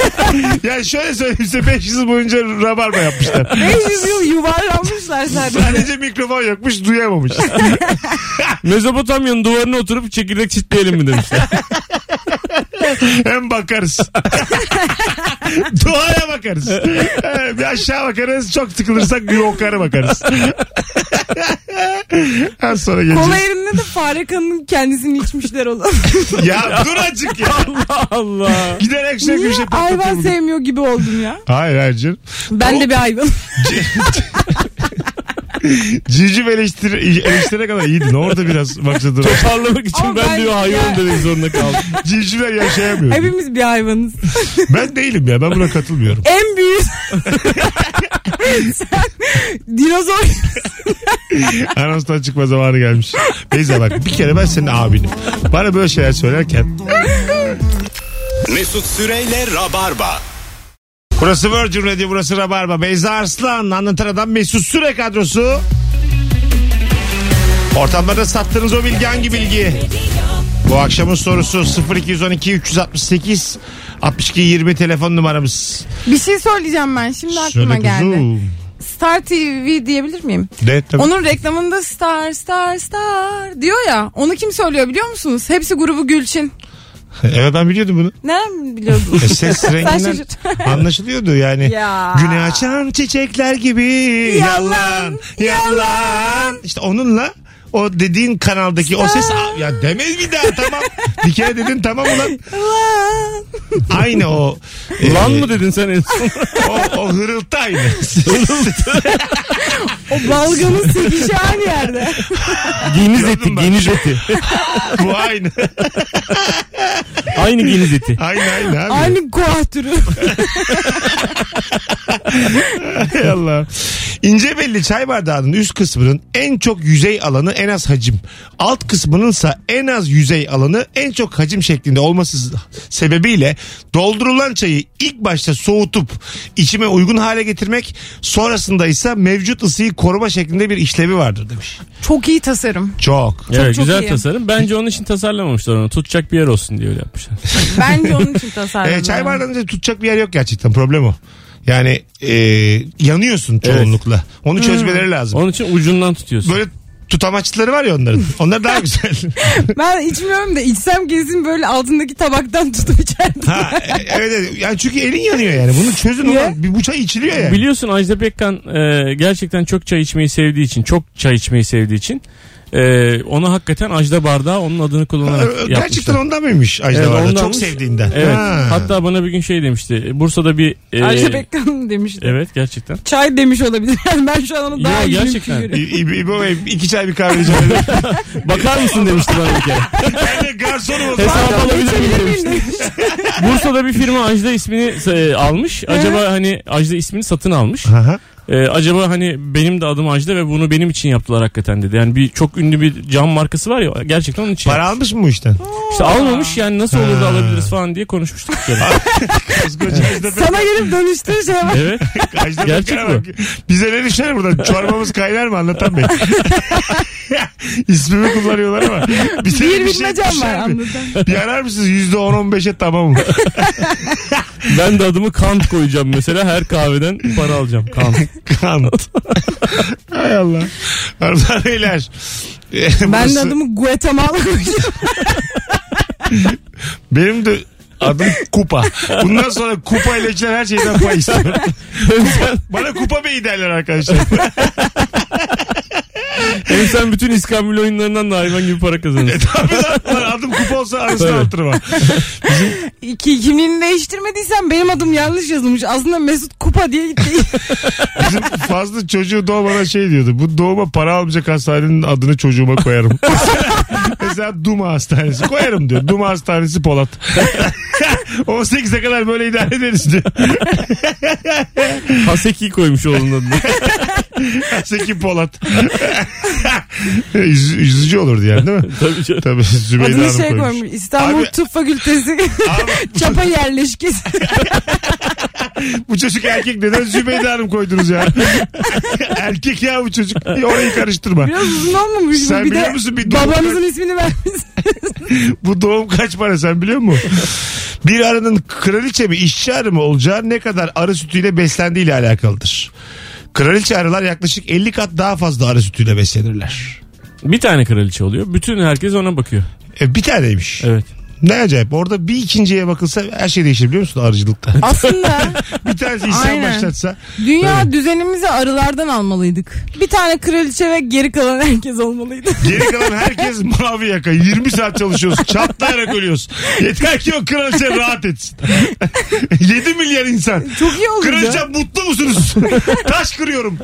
Speaker 2: <laughs> yani şöyle söyleyeyim size 500 yıl boyunca rabarba yapmışlar.
Speaker 3: 500 yıl yuvarlanmışlar sadece.
Speaker 2: Sadece mikrofon yokmuş duyamamış.
Speaker 4: Mezopotamya'nın duvarına oturup çekirdek çitleyelim mi demişler.
Speaker 2: Hem
Speaker 3: <laughs>
Speaker 2: bakarız. Duaya bakarız. Ee, Bir aşağı bakarız. Çok tıkılırsak bir yukarı
Speaker 3: <laughs>
Speaker 2: bakarız. Az sonra geleceğiz.
Speaker 3: Kola yerinde de fare kanının kendisini içmişler oğlum.
Speaker 2: Ya dur acık ya.
Speaker 4: <laughs> Allah Allah.
Speaker 2: Giderek sürekli
Speaker 3: Niye
Speaker 2: bir şey patlatıyor.
Speaker 3: hayvan
Speaker 2: bugün.
Speaker 3: sevmiyor gibi oldum ya?
Speaker 2: Hayır hayır canım.
Speaker 3: Ben de bir hayvan.
Speaker 2: Civciv eleştir eleştirene kadar iyiydin. Orada biraz maksadı.
Speaker 4: Toparlamak için
Speaker 3: Ama
Speaker 4: ben,
Speaker 3: ben
Speaker 4: diyor
Speaker 3: ya-
Speaker 4: hayvan demek zorunda kaldım.
Speaker 2: Civcivler yaşayamıyor.
Speaker 3: Hepimiz bir hayvanız.
Speaker 2: Ben değilim ya. Ben buna katılmıyorum.
Speaker 3: En büyük. <laughs> Sen dinozor.
Speaker 2: Anonstan çıkma zamanı gelmiş. Beyza bak bir kere ben senin abinim. Bana böyle şeyler söylerken
Speaker 1: Mesut Süreyle Rabarba.
Speaker 2: Burası Virgin Radio, burası Rabarba. Beyza Arslan, Anlatan Adam, Mesut Süre kadrosu. Ortamlarda sattığınız o bilgi hangi bilgi? Bu akşamın sorusu 0212 368 62 20 telefon numaramız.
Speaker 3: Bir şey söyleyeceğim ben. Şimdi aklıma
Speaker 2: Söyle
Speaker 3: geldi.
Speaker 2: kuzum.
Speaker 3: Star TV diyebilir miyim?
Speaker 2: De, tabii.
Speaker 3: Onun reklamında Star Star Star diyor ya. Onu kim söylüyor biliyor musunuz? Hepsi grubu Gülçin.
Speaker 2: Evet ben biliyordum bunu.
Speaker 3: Nereden <laughs> biliyordun?
Speaker 2: E, ses renginden
Speaker 3: şaşırt. <laughs>
Speaker 2: anlaşılıyordu yani.
Speaker 3: Ya.
Speaker 2: Güne açan çiçekler gibi yalan,
Speaker 3: Yalan,
Speaker 2: yalan. İşte onunla o dediğin kanaldaki o ses Aa, ya demez bir daha tamam. <laughs> bir kere dedin tamam ulan.
Speaker 3: Lan.
Speaker 2: Aynı o. e,
Speaker 4: Lan mı dedin sen en son?
Speaker 2: O, o hırıltı aynı.
Speaker 3: o balganın sekişi aynı yerde.
Speaker 4: <laughs> Geniz
Speaker 2: Gördüm
Speaker 4: eti,
Speaker 2: ben.
Speaker 4: geniz eti.
Speaker 2: Bu aynı.
Speaker 4: Aynı geniz eti.
Speaker 2: Aynı aynı abi.
Speaker 3: Aynı koah türü.
Speaker 2: Hay Allah. İnce belli çay bardağının üst kısmının en çok yüzey alanı en az hacim. Alt kısmınınsa en az yüzey alanı en çok hacim şeklinde olması sebebiyle doldurulan çayı ilk başta soğutup içime uygun hale getirmek sonrasında ise mevcut ısıyı koruma şeklinde bir işlevi vardır demiş.
Speaker 3: Çok iyi tasarım.
Speaker 2: Çok.
Speaker 4: Evet,
Speaker 3: çok
Speaker 4: güzel
Speaker 3: iyi.
Speaker 4: tasarım. Bence onun için tasarlamamışlar onu. Tutacak bir yer olsun diye öyle yapmışlar.
Speaker 3: Bence onun için tasarım.
Speaker 2: Ee, çay bardağında tutacak bir yer yok gerçekten problem o. Yani e, yanıyorsun çoğunlukla. Onu çözmeleri lazım.
Speaker 4: Onun için ucundan tutuyorsun.
Speaker 2: Böyle tutamaçları var ya onların. Onlar daha güzel.
Speaker 3: Ben içmiyorum da içsem kesin böyle altındaki tabaktan tutup içerdim.
Speaker 2: Ha, e- evet, evet. Yani çünkü elin yanıyor yani. Bunu çözün
Speaker 3: Niye?
Speaker 2: ulan. Bir bu çay içiliyor yani.
Speaker 4: <laughs> Biliyorsun Ajda Pekkan e, gerçekten çok çay içmeyi sevdiği için, çok çay içmeyi sevdiği için e, ona hakikaten Ajda bardağı onun adını
Speaker 2: Ha,
Speaker 4: kullanarak
Speaker 2: e,
Speaker 4: yapmışlar.
Speaker 2: Gerçekten ondan mıymış Ajda
Speaker 4: Evet,
Speaker 2: Varda? Çok
Speaker 4: ondanmış.
Speaker 2: sevdiğinden.
Speaker 4: Evet.
Speaker 2: Ha.
Speaker 4: Hatta bana bir gün şey demişti. Bursa'da bir
Speaker 2: Ee,
Speaker 4: e,
Speaker 3: Ayşe Pekkan demişti.
Speaker 4: Evet gerçekten.
Speaker 3: Çay demiş olabilir. <laughs> Yani ben şu an onu daha
Speaker 4: Yo,
Speaker 3: iyi
Speaker 4: gerçekten.
Speaker 3: mümkünüyorum.
Speaker 2: İ- İ- İbo Bey iki çay bir kahve rica
Speaker 4: <laughs>
Speaker 2: ederim.
Speaker 4: Bakar mısın demişti bana bir kere.
Speaker 2: Ben de garsonum.
Speaker 4: Hesap alabilir miyim demişti. Bursa'da bir firma Ajda ismini e, almış. Acaba hani Ajda ismini satın almış.
Speaker 2: Aha.
Speaker 4: E, acaba hani benim de adım Ajda ve bunu benim için yaptılar hakikaten dedi. Yani bir çok ünlü bir cam markası var ya gerçekten onun için.
Speaker 2: Para almış mı bu işten?
Speaker 4: İşte almamış yani nasıl olur da
Speaker 2: Ha.
Speaker 4: alabiliriz falan diye konuşmuştuk.
Speaker 2: <laughs>
Speaker 4: bir kere.
Speaker 2: Koskoca Ajda Pekkan.
Speaker 3: <laughs> Sana gelip dönüştüğü şey var.
Speaker 4: evet.
Speaker 2: Ajda
Speaker 4: Gerçek
Speaker 2: Pekkan'a
Speaker 4: bu.
Speaker 2: bak. Bize ne düşer buradan? Çorbamız kaynar mı
Speaker 4: <laughs>
Speaker 2: anlatan bey? İsmimi kullanıyorlar ama. Bize
Speaker 3: Bir
Speaker 2: bir şey
Speaker 3: bilmecem var
Speaker 2: düşer mi?
Speaker 3: anlatan.
Speaker 2: Bir arar mısınız? %10-15'e tamamım.
Speaker 4: Ben de adımı Kant koyacağım mesela her kahveden para alacağım. <laughs> Kant.
Speaker 2: <laughs> Kant. Hay Allah. Hanımlar beyler. Ee,
Speaker 3: Ben de
Speaker 2: burası-
Speaker 3: adımı Guatemala koyacağım. <laughs>
Speaker 2: Benim de adım Kupa. Bundan sonra Kupa ile içilen her şeyden pay istiyorum. Kupa- Bana Kupa Bey derler arkadaşlar.
Speaker 4: Hem sen bütün iskambil oyunlarından da hayvan gibi para kazanırsın.
Speaker 2: Tabii lan. Lan adım Kupa olsa arasını
Speaker 4: Evet.
Speaker 2: artırma.
Speaker 3: İki kimliğini değiştirmediysen benim adım yanlış yazılmış. Aslında Mesut Kupa diye
Speaker 2: <laughs>
Speaker 3: gitti.
Speaker 2: Bizim fazla çocuğu doğmadan şey diyordu. Bu doğuma para almayacak hastanenin adını çocuğuma koyarım. <laughs> Mesela Duma Hastanesi koyarım diyor. Duma Hastanesi Polat. <laughs> 18'e kadar böyle idare ederiz diyor.
Speaker 4: Haseki koymuş oğlun adını.
Speaker 2: <laughs> Seki Polat. Üz- Üzücü olurdu yani değil mi?
Speaker 4: <laughs> Tabii canım.
Speaker 2: Tabii Zübeyde
Speaker 3: Adını
Speaker 2: Hanım
Speaker 3: şey
Speaker 2: koymuş.
Speaker 3: koymuş. İstanbul
Speaker 2: Abi-
Speaker 3: Tıp Fakültesi
Speaker 2: Abi-
Speaker 3: <laughs> Çapa
Speaker 2: <laughs>
Speaker 3: Yerleşkesi.
Speaker 2: Bu çocuk erkek neden Zübeyde Hanım koydunuz ya? <laughs> erkek ya bu çocuk. Orayı karıştırma.
Speaker 3: Biraz uzun olmamış mı?
Speaker 2: Sen
Speaker 3: Bir
Speaker 2: biliyor
Speaker 3: de
Speaker 2: musun bir doğum,
Speaker 3: babanızın
Speaker 2: <laughs>
Speaker 3: ismini vermiş.
Speaker 2: bu doğum kaç para sen biliyor musun? Bir arının kraliçe mi işçi arı mı olacağı ne kadar arı sütüyle beslendiği ile alakalıdır. Kraliçe arılar yaklaşık 50 kat daha fazla arı sütüyle beslenirler.
Speaker 4: Bir tane kraliçe oluyor. Bütün herkes ona bakıyor.
Speaker 2: E, bir taneymiş.
Speaker 4: Evet.
Speaker 2: Ne acayip. Orada bir ikinciye bakılsa her şey değişir biliyor musun arıcılıkta?
Speaker 3: Aslında
Speaker 2: bir tanesi isyan
Speaker 3: Aynen.
Speaker 2: başlatsa.
Speaker 3: dünya düzenimizi arılardan almalıydık. Bir tane kraliçe ve geri kalan herkes olmalıydı. <laughs>
Speaker 2: Geri kalan herkes mavi yaka. 20 saat çalışıyoruz. Çatlayarak ölüyoruz. Yeter ki o kraliçe rahat etsin. <laughs> 7 milyar insan.
Speaker 3: Çok iyi olurdu.
Speaker 2: Kraliçe
Speaker 3: Kraliçe...
Speaker 2: mutlu musunuz? Taş kırıyorum.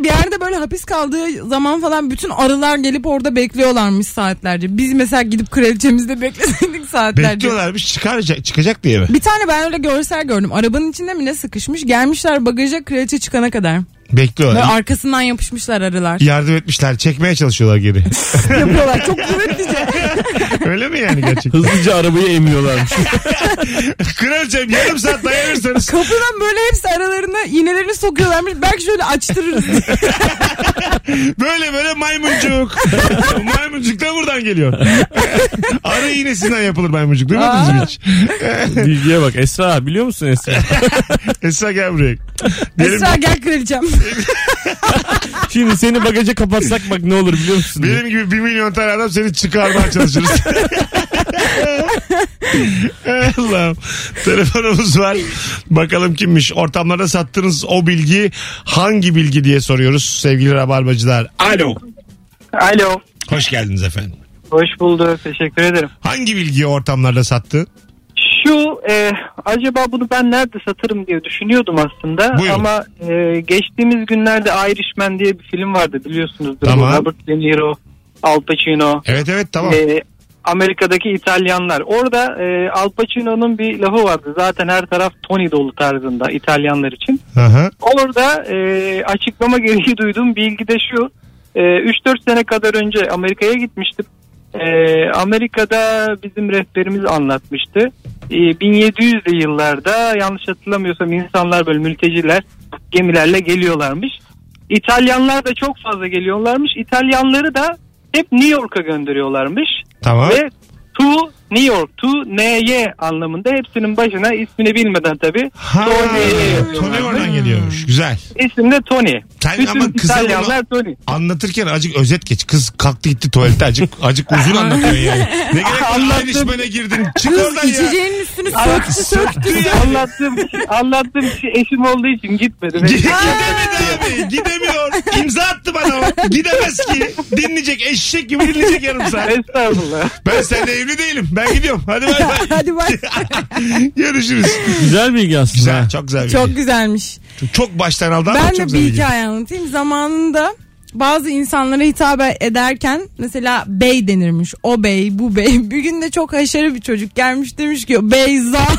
Speaker 3: bir yerde böyle hapis kaldığı zaman falan bütün arılar gelip orada bekliyorlarmış saatlerce. Biz mesela gidip kraliçemizde bekleseydik saatlerce.
Speaker 2: Bekliyorlarmış çıkaracak, çıkacak diye mi?
Speaker 3: Bir tane ben öyle görsel gördüm. Arabanın içinde mi ne sıkışmış? Gelmişler bagaja kraliçe çıkana kadar. Ve
Speaker 2: Bekliyorlar.
Speaker 3: arkasından yapışmışlar arılar.
Speaker 2: Yardım etmişler. Çekmeye çalışıyorlar geri.
Speaker 3: Yapıyorlar. Çok şey. kuvvetlice.
Speaker 2: Öyle mi yani
Speaker 3: <laughs>
Speaker 2: gerçekten?
Speaker 4: Hızlıca arabayı emiyorlarmış.
Speaker 2: Kraliçem yarım saat dayanırsanız
Speaker 3: Kapıdan böyle hepsi aralarına iğnelerini sokuyorlarmış. Belki şöyle açtırırız diye.
Speaker 2: böyle böyle
Speaker 3: <laughs>
Speaker 2: maymuncuk. maymuncuk da buradan geliyor. Arı iğnesinden yapılır maymuncuk. Duymadınız mı
Speaker 3: Aa.
Speaker 2: hiç?
Speaker 4: <laughs> Bilgiye bak Esra biliyor musun Esra?
Speaker 2: Esra gel buraya. Benim-
Speaker 3: Esra gel kraliçem.
Speaker 4: Şimdi seni bagaja kapatsak bak ne olur biliyor musun?
Speaker 2: Benim gibi bir milyon tane adam seni çıkarmaya çalışırız. Allah'ım. Telefonumuz var. Bakalım kimmiş. Ortamlarda sattığınız o bilgi hangi bilgi diye soruyoruz sevgili rabarbacılar. Alo.
Speaker 5: Alo.
Speaker 2: Hoş geldiniz efendim.
Speaker 5: Hoş bulduk. Teşekkür ederim.
Speaker 2: Hangi bilgiyi ortamlarda sattı?
Speaker 5: Şu e, acaba bunu ben nerede satarım diye düşünüyordum aslında
Speaker 2: Buyurun.
Speaker 5: ama e, geçtiğimiz günlerde Irishman diye bir film vardı biliyorsunuzdur.
Speaker 2: Tamam.
Speaker 5: Robert De Niro, Al Pacino.
Speaker 2: Evet evet tamam.
Speaker 5: E,
Speaker 8: Ee, Amerika'daki İtalyanlar. Orada e, Al Pacino'nun bir lafı vardı. Zaten her taraf Tony dolu tarzında İtalyanlar için.
Speaker 2: Aha.
Speaker 8: Orada e, açıklama gereği <laughs> duyduğum bilgi de şu. E, 3-4 sene kadar önce Amerika'ya gitmiştim. E, Amerika'da bizim rehberimiz anlatmıştı. E, 1700'lü yıllarda yanlış hatırlamıyorsam insanlar böyle mülteciler gemilerle geliyorlarmış. İtalyanlar da çok fazla geliyorlarmış. İtalyanları da hep New York'a gönderiyorlarmış.
Speaker 2: Tamam.
Speaker 8: Ve to New York, to NY anlamında hepsinin başına ismini bilmeden tabii
Speaker 2: Ha,
Speaker 8: Tony.
Speaker 2: Tony oradan geliyormuş. Güzel.
Speaker 8: İsim de Tony.
Speaker 2: Sen
Speaker 8: Bütün
Speaker 2: ama kısa
Speaker 8: İtalyanlar Tony.
Speaker 2: Anlatırken acık özet geç. Kız kalktı gitti tuvalete acık acık uzun anlatıyorsun yani. Ne gerek var
Speaker 8: Anlattım.
Speaker 2: ayrışmana girdin. Çık
Speaker 3: Kız
Speaker 2: oradan ya.
Speaker 3: içeceğinin üstünü söktü söktü.
Speaker 8: anlattığım, kişi- anlattığım kişi eşim olduğu için gitmedi.
Speaker 2: Gi- Gidemedi abi. Gidemiyor. İmza attı bana o. Gidemez ki. Dinleyecek. Eşek gibi dinleyecek yarım saat.
Speaker 8: Estağfurullah.
Speaker 2: Ben seninle evli değilim. Ben gidiyorum. Hadi bay
Speaker 3: <laughs>
Speaker 2: bay.
Speaker 3: Hadi bak.
Speaker 2: Görüşürüz.
Speaker 4: Güzel bilgi aslında.
Speaker 2: Güzel. Çok güzel. Çok,
Speaker 3: Çok güzelmiş.
Speaker 2: çok baştan aldı ama
Speaker 3: Ben
Speaker 2: çok
Speaker 3: de
Speaker 2: güzel.
Speaker 3: bir
Speaker 2: bilgi.
Speaker 3: hikaye anlatayım. Zamanında bazı insanlara hitap ederken mesela bey denirmiş. O bey, bu bey. <laughs> Bir gün de çok haşarı bir çocuk gelmiş demiş ki Beyza. <laughs>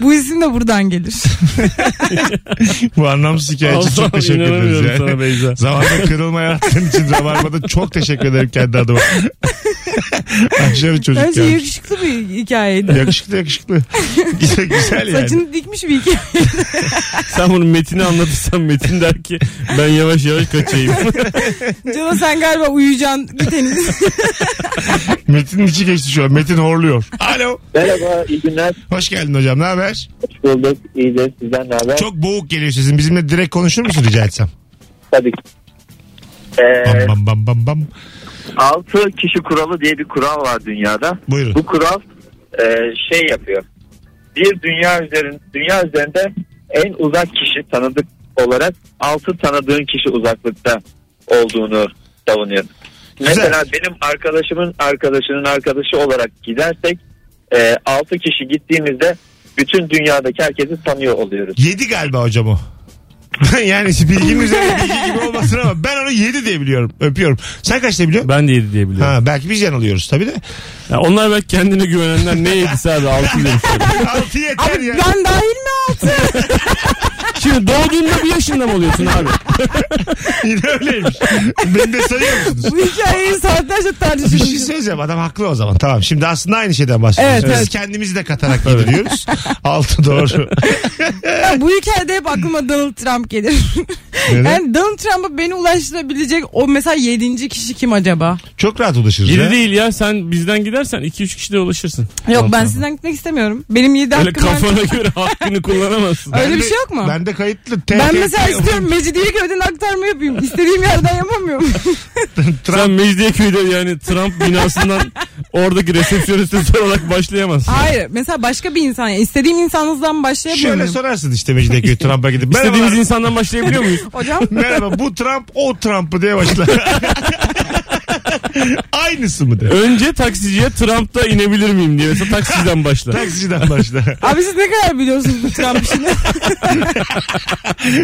Speaker 3: bu isim de
Speaker 2: <laughs>
Speaker 3: buradan gelir.
Speaker 2: Bu anlamsız hikaye için
Speaker 4: Allah'ım
Speaker 2: çok teşekkür ederiz.
Speaker 4: inanamıyorum
Speaker 2: Yani.
Speaker 4: sana Beyza.
Speaker 2: <laughs> Zamanında kırılmaya attığın için Rabarba'da çok teşekkür ederim kendi adıma. <laughs> Aşırı çocuk
Speaker 3: Her şey
Speaker 2: gelmiş.
Speaker 3: yakışıklı bir
Speaker 2: <laughs>
Speaker 3: hikayeydi.
Speaker 2: Yakışıklı
Speaker 3: <laughs>
Speaker 2: yakışıklı. Güzel, güzel yani.
Speaker 3: Saçını dikmiş bir hikaye. <laughs>
Speaker 4: Sen bunun metini anlatırsan Metin der ki ben yavaş yavaş kaçayım.
Speaker 3: Cano sen galiba uyuyacaksın. Git henüz.
Speaker 2: Metin'in içi geçti şu an. Metin horluyor. Alo.
Speaker 6: Merhaba, iyi günler.
Speaker 2: Hoş geldin hocam. Ne haber?
Speaker 6: Hoş bulduk. İyidir. Sizden ne haber?
Speaker 2: Çok boğuk geliyor sesin. Bizimle direkt konuşur musun rica etsem?
Speaker 6: Tabii ki. Ee,
Speaker 2: Bam bam bam bam bam.
Speaker 6: 6 kişi kuralı diye bir kural var dünyada.
Speaker 2: Buyurun.
Speaker 6: Bu kural e, şey yapıyor. Bir dünya üzerinde, dünya üzerinde en uzak kişi tanıdık olarak 6 tanıdığın kişi uzaklıkta olduğunu savunuyor.
Speaker 2: Güzel.
Speaker 6: Mesela benim arkadaşımın arkadaşının arkadaşı olarak gidersek 6 kişi gittiğimizde bütün dünyadaki herkesi tanıyor oluyoruz.
Speaker 2: Yedi galiba hocam o. <laughs> yani bilginin üzerine bilgi gibi olmasın ama ben onu yedi diye biliyorum. Öpüyorum. Sen kaç diye biliyorsun?
Speaker 4: <laughs> ben de yedi diye biliyorum.
Speaker 2: Ha, belki biz yanılıyoruz tabii
Speaker 3: <laughs>
Speaker 2: de.
Speaker 4: Ya onlar belki kendine güvenenler ne yedisi abi altı demiş.
Speaker 2: Altı yeter
Speaker 3: Abi
Speaker 2: ya.
Speaker 3: ben dahil mi altı?
Speaker 4: Şimdi doğduğunda bir yaşında mı oluyorsun abi?
Speaker 2: <laughs> Yine öyleymiş. Beni de sayıyor musunuz?
Speaker 3: Bu hikayeyi saatlerce
Speaker 2: Bir şey
Speaker 3: tartışmışız.
Speaker 2: söyleyeceğim adam haklı o zaman tamam şimdi aslında aynı şeyden bahsediyoruz
Speaker 3: Evet,
Speaker 2: biz
Speaker 3: evet.
Speaker 2: kendimizi de katarak
Speaker 3: <laughs>
Speaker 2: yediriyoruz altı doğru
Speaker 3: Ya <laughs> bu hikayede hep aklıma Donald Trump gelir.
Speaker 2: Neden?
Speaker 3: yani Donald Trump'a beni ulaştırabilecek o mesela yedinci kişi kim acaba?
Speaker 2: çok rahat ulaşırız ya.
Speaker 4: Yedi değil ya sen bizden gidersen iki üç kişide ulaşırsın.
Speaker 3: Yok ben sizden gitmek istemiyorum. Benim yedi
Speaker 4: Öyle
Speaker 3: hakkım var.
Speaker 4: kafana göre hakkını kullanamazsın.
Speaker 3: Öyle
Speaker 2: Ben
Speaker 3: bir
Speaker 2: de-
Speaker 3: şey yok mu?
Speaker 2: Ben de kayıtlı. T- <laughs>
Speaker 3: Ben
Speaker 2: T-
Speaker 3: mesela
Speaker 2: T-
Speaker 3: istiyorum Mecidiyeköy'den aktarma yapayım. İstediğim yerden
Speaker 2: <laughs>
Speaker 3: yapamıyorum.
Speaker 4: Sen Mecidiyeköy'de yani Trump binasından oradaki resepsiyoniste olarak başlayamazsın.
Speaker 3: Hayır. Mesela başka bir insan. yani istediğim insanınızdan başlayamıyorum.
Speaker 2: Şöyle sorarsın işte
Speaker 3: <laughs>
Speaker 2: Mecidiyeköy Trump'a gidip.
Speaker 4: İstediğimiz
Speaker 2: Merhabalar.
Speaker 4: insandan başlayabiliyor muyuz?
Speaker 3: Hocam
Speaker 2: Merhaba bu Trump o Trump'ı diye
Speaker 3: <laughs>
Speaker 2: başla. Aynısı mı de?
Speaker 4: Önce taksiciye Trump'ta inebilir miyim diye. Mesela taksiciden başla.
Speaker 2: Taksiciden başla.
Speaker 3: abi siz ne kadar biliyorsunuz bu
Speaker 2: <laughs>
Speaker 3: Trump işini?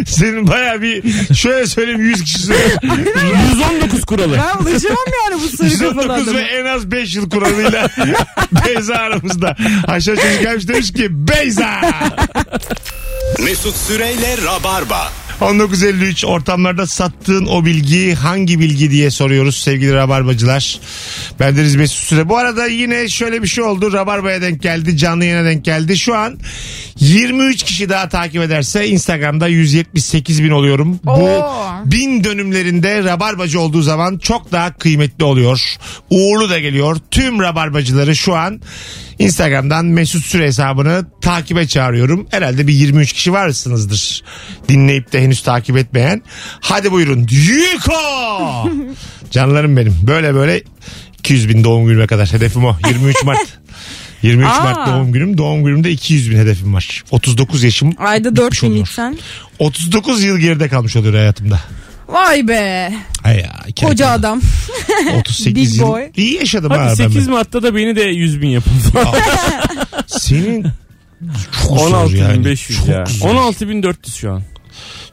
Speaker 2: Senin baya bir şöyle söyleyeyim 100 kişi
Speaker 4: 119 kuralı.
Speaker 3: ben ulaşamam yani bu sarı kafalı
Speaker 2: 119
Speaker 3: adamı.
Speaker 2: ve en az 5 yıl kuralıyla <laughs> Beyza aramızda. Aşağı çocuk gelmiş demiş ki Beyza.
Speaker 1: Mesut Süreyle Rabarba.
Speaker 2: 1953 ortamlarda sattığın o bilgi hangi bilgi diye soruyoruz sevgili Rabarbacılar. Bendeniz Mesut Süre. Bu arada yine şöyle bir şey oldu. Rabarba'ya denk geldi. Canlı yayına denk geldi. Şu an 23 kişi daha takip ederse Instagram'da 178 bin oluyorum. Bu
Speaker 3: Oo.
Speaker 2: bin dönümlerinde Rabarbacı olduğu zaman çok daha kıymetli oluyor. Uğurlu da geliyor. Tüm Rabarbacıları şu an Instagram'dan Mesut Süre hesabını takibe çağırıyorum. Herhalde bir 23 kişi varsınızdır. Dinleyip de henüz takip etmeyen. Hadi buyurun. Yuko!
Speaker 3: <laughs>
Speaker 2: Canlarım benim. Böyle böyle 200 bin doğum günüme kadar. Hedefim o. 23 Mart. 23
Speaker 3: Aa.
Speaker 2: Mart doğum günüm. Doğum günümde 200 bin hedefim var. 39 yaşım.
Speaker 3: Ayda
Speaker 2: bitmiş
Speaker 3: 4 bin
Speaker 2: oluyor.
Speaker 3: gitsen.
Speaker 2: 39 yıl geride kalmış oluyor hayatımda.
Speaker 3: Vay be.
Speaker 2: Ay ya, iki
Speaker 3: Koca
Speaker 2: erkek.
Speaker 3: adam.
Speaker 2: 38
Speaker 3: Big
Speaker 2: yıl.
Speaker 3: boy.
Speaker 2: İyi yaşadım ha
Speaker 4: Hadi
Speaker 2: ben.
Speaker 4: 8 Mart'ta da beni de 100 bin yapın <laughs> falan.
Speaker 2: Senin çok zor yani.
Speaker 4: 16.500
Speaker 2: Çok
Speaker 4: ya.
Speaker 2: zor.
Speaker 4: 16.400 şu an.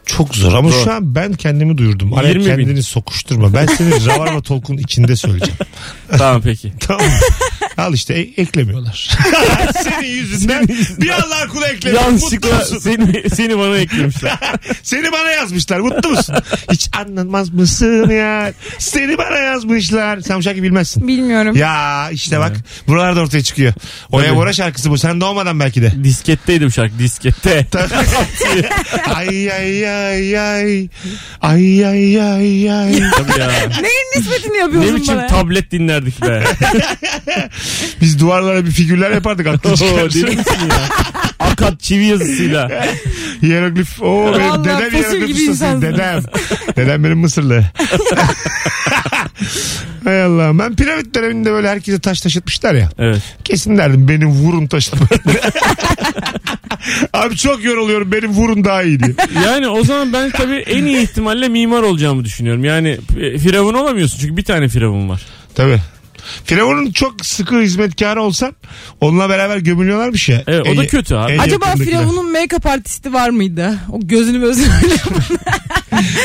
Speaker 2: Çok zor ama
Speaker 4: Zor.
Speaker 2: şu an ben kendimi duyurdum. Araya
Speaker 4: 20 bin.
Speaker 2: kendini sokuşturma. Ben seni Ravarma Tolk'un içinde söyleyeceğim.
Speaker 4: Tamam peki.
Speaker 2: Tamam mı? Al işte e- eklemiyorlar. <laughs> Senin yüzünden bir Allah kulu eklemiyor. Mutlu
Speaker 4: Yanlışlıkla
Speaker 2: musun? <laughs>
Speaker 4: seni, seni bana eklemişler.
Speaker 2: Seni bana yazmışlar. Mutlu musun? Hiç anlamaz mısın ya? Seni bana yazmışlar. Sen bu şarkıyı bilmezsin.
Speaker 3: Bilmiyorum.
Speaker 2: Ya işte bak buralarda ortaya çıkıyor. Oya
Speaker 4: Tabii.
Speaker 2: Bora şarkısı bu. Sen doğmadan belki
Speaker 4: <laughs>
Speaker 2: de.
Speaker 4: Disketteydi bu şarkı diskette.
Speaker 2: ay ay ay ay. Ay ay ay ay.
Speaker 4: Tabii
Speaker 2: <laughs>
Speaker 4: ya.
Speaker 3: Neyin nispetini yapıyorsun
Speaker 4: ne biçim
Speaker 3: bana?
Speaker 4: tablet dinlerdik be.
Speaker 2: Biz duvarlara bir figürler yapardık
Speaker 4: <laughs>
Speaker 2: aklı
Speaker 4: Oo, deli
Speaker 2: çıkar.
Speaker 4: misin ya? Akat çivi yazısıyla.
Speaker 2: Hieroglif. Oo benim
Speaker 3: Vallahi
Speaker 2: dedem
Speaker 3: fosil
Speaker 2: hieroglif
Speaker 3: gibi
Speaker 2: ustasıydı.
Speaker 3: insansın. <laughs>
Speaker 2: Dedem. dedem benim Mısırlı. Hay Allah'ım. Ben piramit döneminde böyle herkese taş taşıtmışlar ya.
Speaker 4: Evet.
Speaker 2: Kesin derdim beni vurun taşıtma.
Speaker 3: <laughs>
Speaker 2: Abi çok yoruluyorum benim vurun daha iyi diye.
Speaker 4: Yani o zaman ben tabii en iyi ihtimalle mimar olacağımı düşünüyorum. Yani e, firavun olamıyorsun çünkü bir tane firavun var.
Speaker 2: Tabii. Firavun'un çok sıkı hizmetkarı olsan onunla beraber gömülüyorlarmış ya.
Speaker 4: Evet, o
Speaker 2: En-
Speaker 4: da kötü abi.
Speaker 2: en
Speaker 3: Acaba
Speaker 2: yakındakiler.
Speaker 3: Firavun'un make-up artisti var mıydı? O gözünü gözünü öyle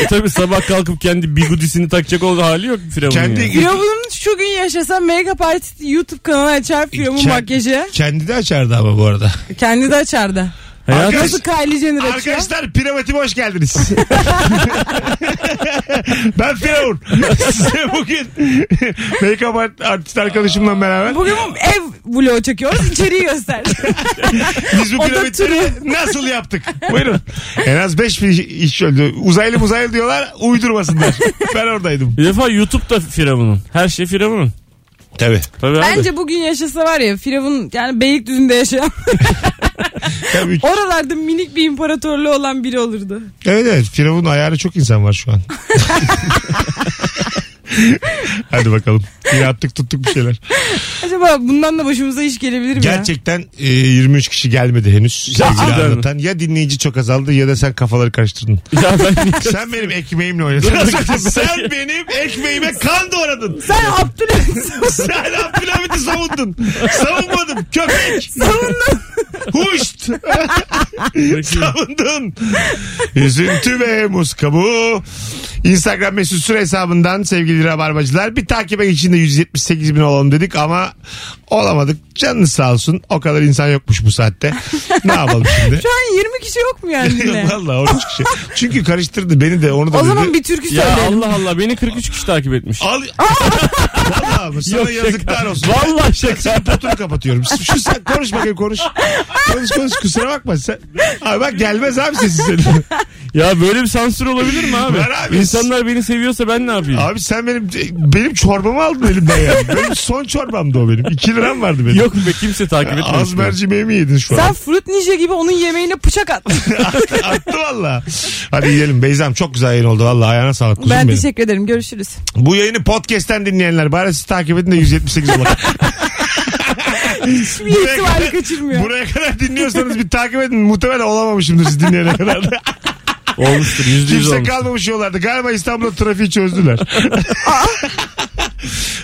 Speaker 4: E, tabii sabah kalkıp kendi bigudisini takacak olduğu hali yok firavunun.
Speaker 2: Kendi-
Speaker 4: yani.
Speaker 3: Firavun'un şu gün yaşasa make-up artisti YouTube kanalı açar Firavun
Speaker 2: Kend-
Speaker 3: makyajı.
Speaker 2: Kendi de açardı ama bu arada.
Speaker 3: Kendi de açardı.
Speaker 4: Hayat-
Speaker 2: Arkadaş-
Speaker 3: Nasıl Kylie Jenner açıyor?
Speaker 2: Arkadaşlar piramitime hoş geldiniz. ben Firavun. Size bugün <laughs> make-up art- artist arkadaşımla beraber
Speaker 3: Bugün ev vlogu çekiyoruz.
Speaker 2: <laughs>
Speaker 3: içeriği göster.
Speaker 2: biz bu
Speaker 3: oda
Speaker 2: piramitleri nasıl yaptık? Buyurun. En az 5 bin iş- iş öldü. Uzaylı uzaylı diyorlar uydurmasınlar. Ben oradaydım.
Speaker 4: Bir defa YouTube'da Firavun'un. Her şey Firavun'un.
Speaker 2: Tabii.
Speaker 4: Tabii abi.
Speaker 3: Bence bugün yaşasa var ya Firavun yani Beylikdüzü'nde yaşayan <laughs>
Speaker 2: Tabii.
Speaker 3: oralarda minik bir imparatorluğu olan biri olurdu.
Speaker 2: Evet evet. Firavun ayarı çok insan var şu an. Hadi bakalım. Yine attık tuttuk bir şeyler.
Speaker 3: Acaba bundan da başımıza iş gelebilir mi?
Speaker 2: Gerçekten e, 23 kişi gelmedi henüz. Sevgili
Speaker 4: cidden mi?
Speaker 2: anlatan. Ya dinleyici çok azaldı ya da sen kafaları karıştırdın.
Speaker 4: <laughs>
Speaker 2: <laughs>
Speaker 4: Ya ben şey
Speaker 2: sen benim ekmeğimle <laughs> oynadın. sen benim ekmeğime kan doğradın.
Speaker 3: ya? Sen Abdülhamit <laughs>
Speaker 2: sen Abdülhamit'i savundun. Savunmadım. Köpek.
Speaker 3: savundun.
Speaker 2: Huşt.
Speaker 4: ya.
Speaker 2: Savundun. Üzüntü ve muz kabuğu. Instagram mesut süre hesabından sevgili rabarbacılar bir takibe için de 178 bin olalım dedik ama olamadık. Canınız sağ olsun. O kadar insan yokmuş bu saatte. Ne yapalım
Speaker 3: <laughs>
Speaker 2: şimdi?
Speaker 3: Şu an 20 kişi yok
Speaker 2: <laughs>
Speaker 3: mu yani yine?
Speaker 2: Valla 13 kişi. Çünkü karıştırdı beni de onu da
Speaker 3: o
Speaker 2: dedi.
Speaker 3: zaman bir türkü
Speaker 4: Ya
Speaker 3: söyleyelim.
Speaker 4: Allah Allah beni 43 kişi takip etmiş.
Speaker 2: Al... <laughs> Valla ama sana
Speaker 4: Yok, şaka.
Speaker 2: yazıklar olsun.
Speaker 4: Vallahi
Speaker 2: Ben senin potunu kapatıyorum. Şu sen konuş bakayım konuş. Konuş konuş kusura bakma sen. Abi bak gelmez abi sesin
Speaker 3: <laughs>
Speaker 2: senin.
Speaker 4: Ya böyle bir sansür olabilir mi
Speaker 2: <laughs>
Speaker 4: abi?
Speaker 2: Ver abi.
Speaker 4: İnsanlar beni seviyorsa ben ne yapayım?
Speaker 2: Abi sen benim benim çorbamı aldın elimden ya. Benim son çorbamdı o benim. 2 liram vardı benim.
Speaker 4: Yok be kimse takip etmemiş.
Speaker 2: Az mercimeği mi yedin şu an?
Speaker 3: Sen Fruit Ninja gibi onun yemeğine bıçak <laughs> attın.
Speaker 2: <laughs> Attı valla. Hadi yiyelim Beyza'm çok güzel yayın oldu valla. Ayağına sağlık kuzum
Speaker 3: ben
Speaker 2: benim.
Speaker 3: teşekkür ederim. Görüşürüz.
Speaker 2: Bu yayını podcast'ten dinleyenler bari siz takip edin de 178 olun.
Speaker 3: Hiçbir ihtimali kaçırmıyor.
Speaker 2: Buraya kadar dinliyorsanız bir takip edin. Muhtemelen olamamışımdır siz dinleyene kadar.
Speaker 4: Olmuştur yüzde <laughs> yüz
Speaker 2: Kimse
Speaker 4: olmuş.
Speaker 2: kalmamış yollarda. Galiba İstanbul'da trafiği çözdüler.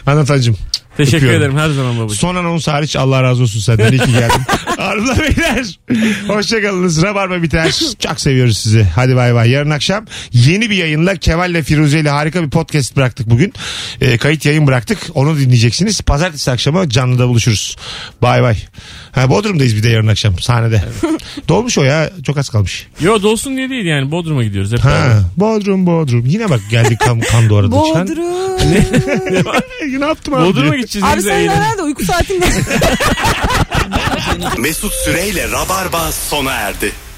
Speaker 2: Anlatacığım.
Speaker 4: Teşekkür
Speaker 2: Öpüyorum.
Speaker 4: ederim her zaman babacığım.
Speaker 2: Son anons hariç Allah razı olsun senden. İyi ki geldin. Arılar beyler. Hoşçakalınız. Rabarba biter. Çok seviyoruz sizi. Hadi bay bay. Yarın akşam yeni bir yayınla Kemal'le Firuze ile harika bir podcast bıraktık bugün. Ee, kayıt yayın bıraktık. Onu dinleyeceksiniz. Pazartesi akşamı canlıda buluşuruz. Bay bay. Ha, Bodrum'dayız bir de yarın akşam sahnede. Dolmuş o ya. Çok az kalmış.
Speaker 4: Yo dolsun diye değil yani Bodrum'a gidiyoruz hep
Speaker 2: Ha,
Speaker 4: beraber.
Speaker 2: Bodrum Bodrum. Yine bak geldik kan, kan doğradı. Sen-
Speaker 3: Bodrum.
Speaker 2: <laughs> ne yaptım abi?
Speaker 4: Bodrum'a
Speaker 2: diye.
Speaker 4: gideceğiz.
Speaker 3: Abi
Speaker 4: biz de
Speaker 3: sen
Speaker 4: eğlenceli.
Speaker 3: herhalde uyku saatinde.
Speaker 1: Mesut Süreyle Rabarba sona erdi.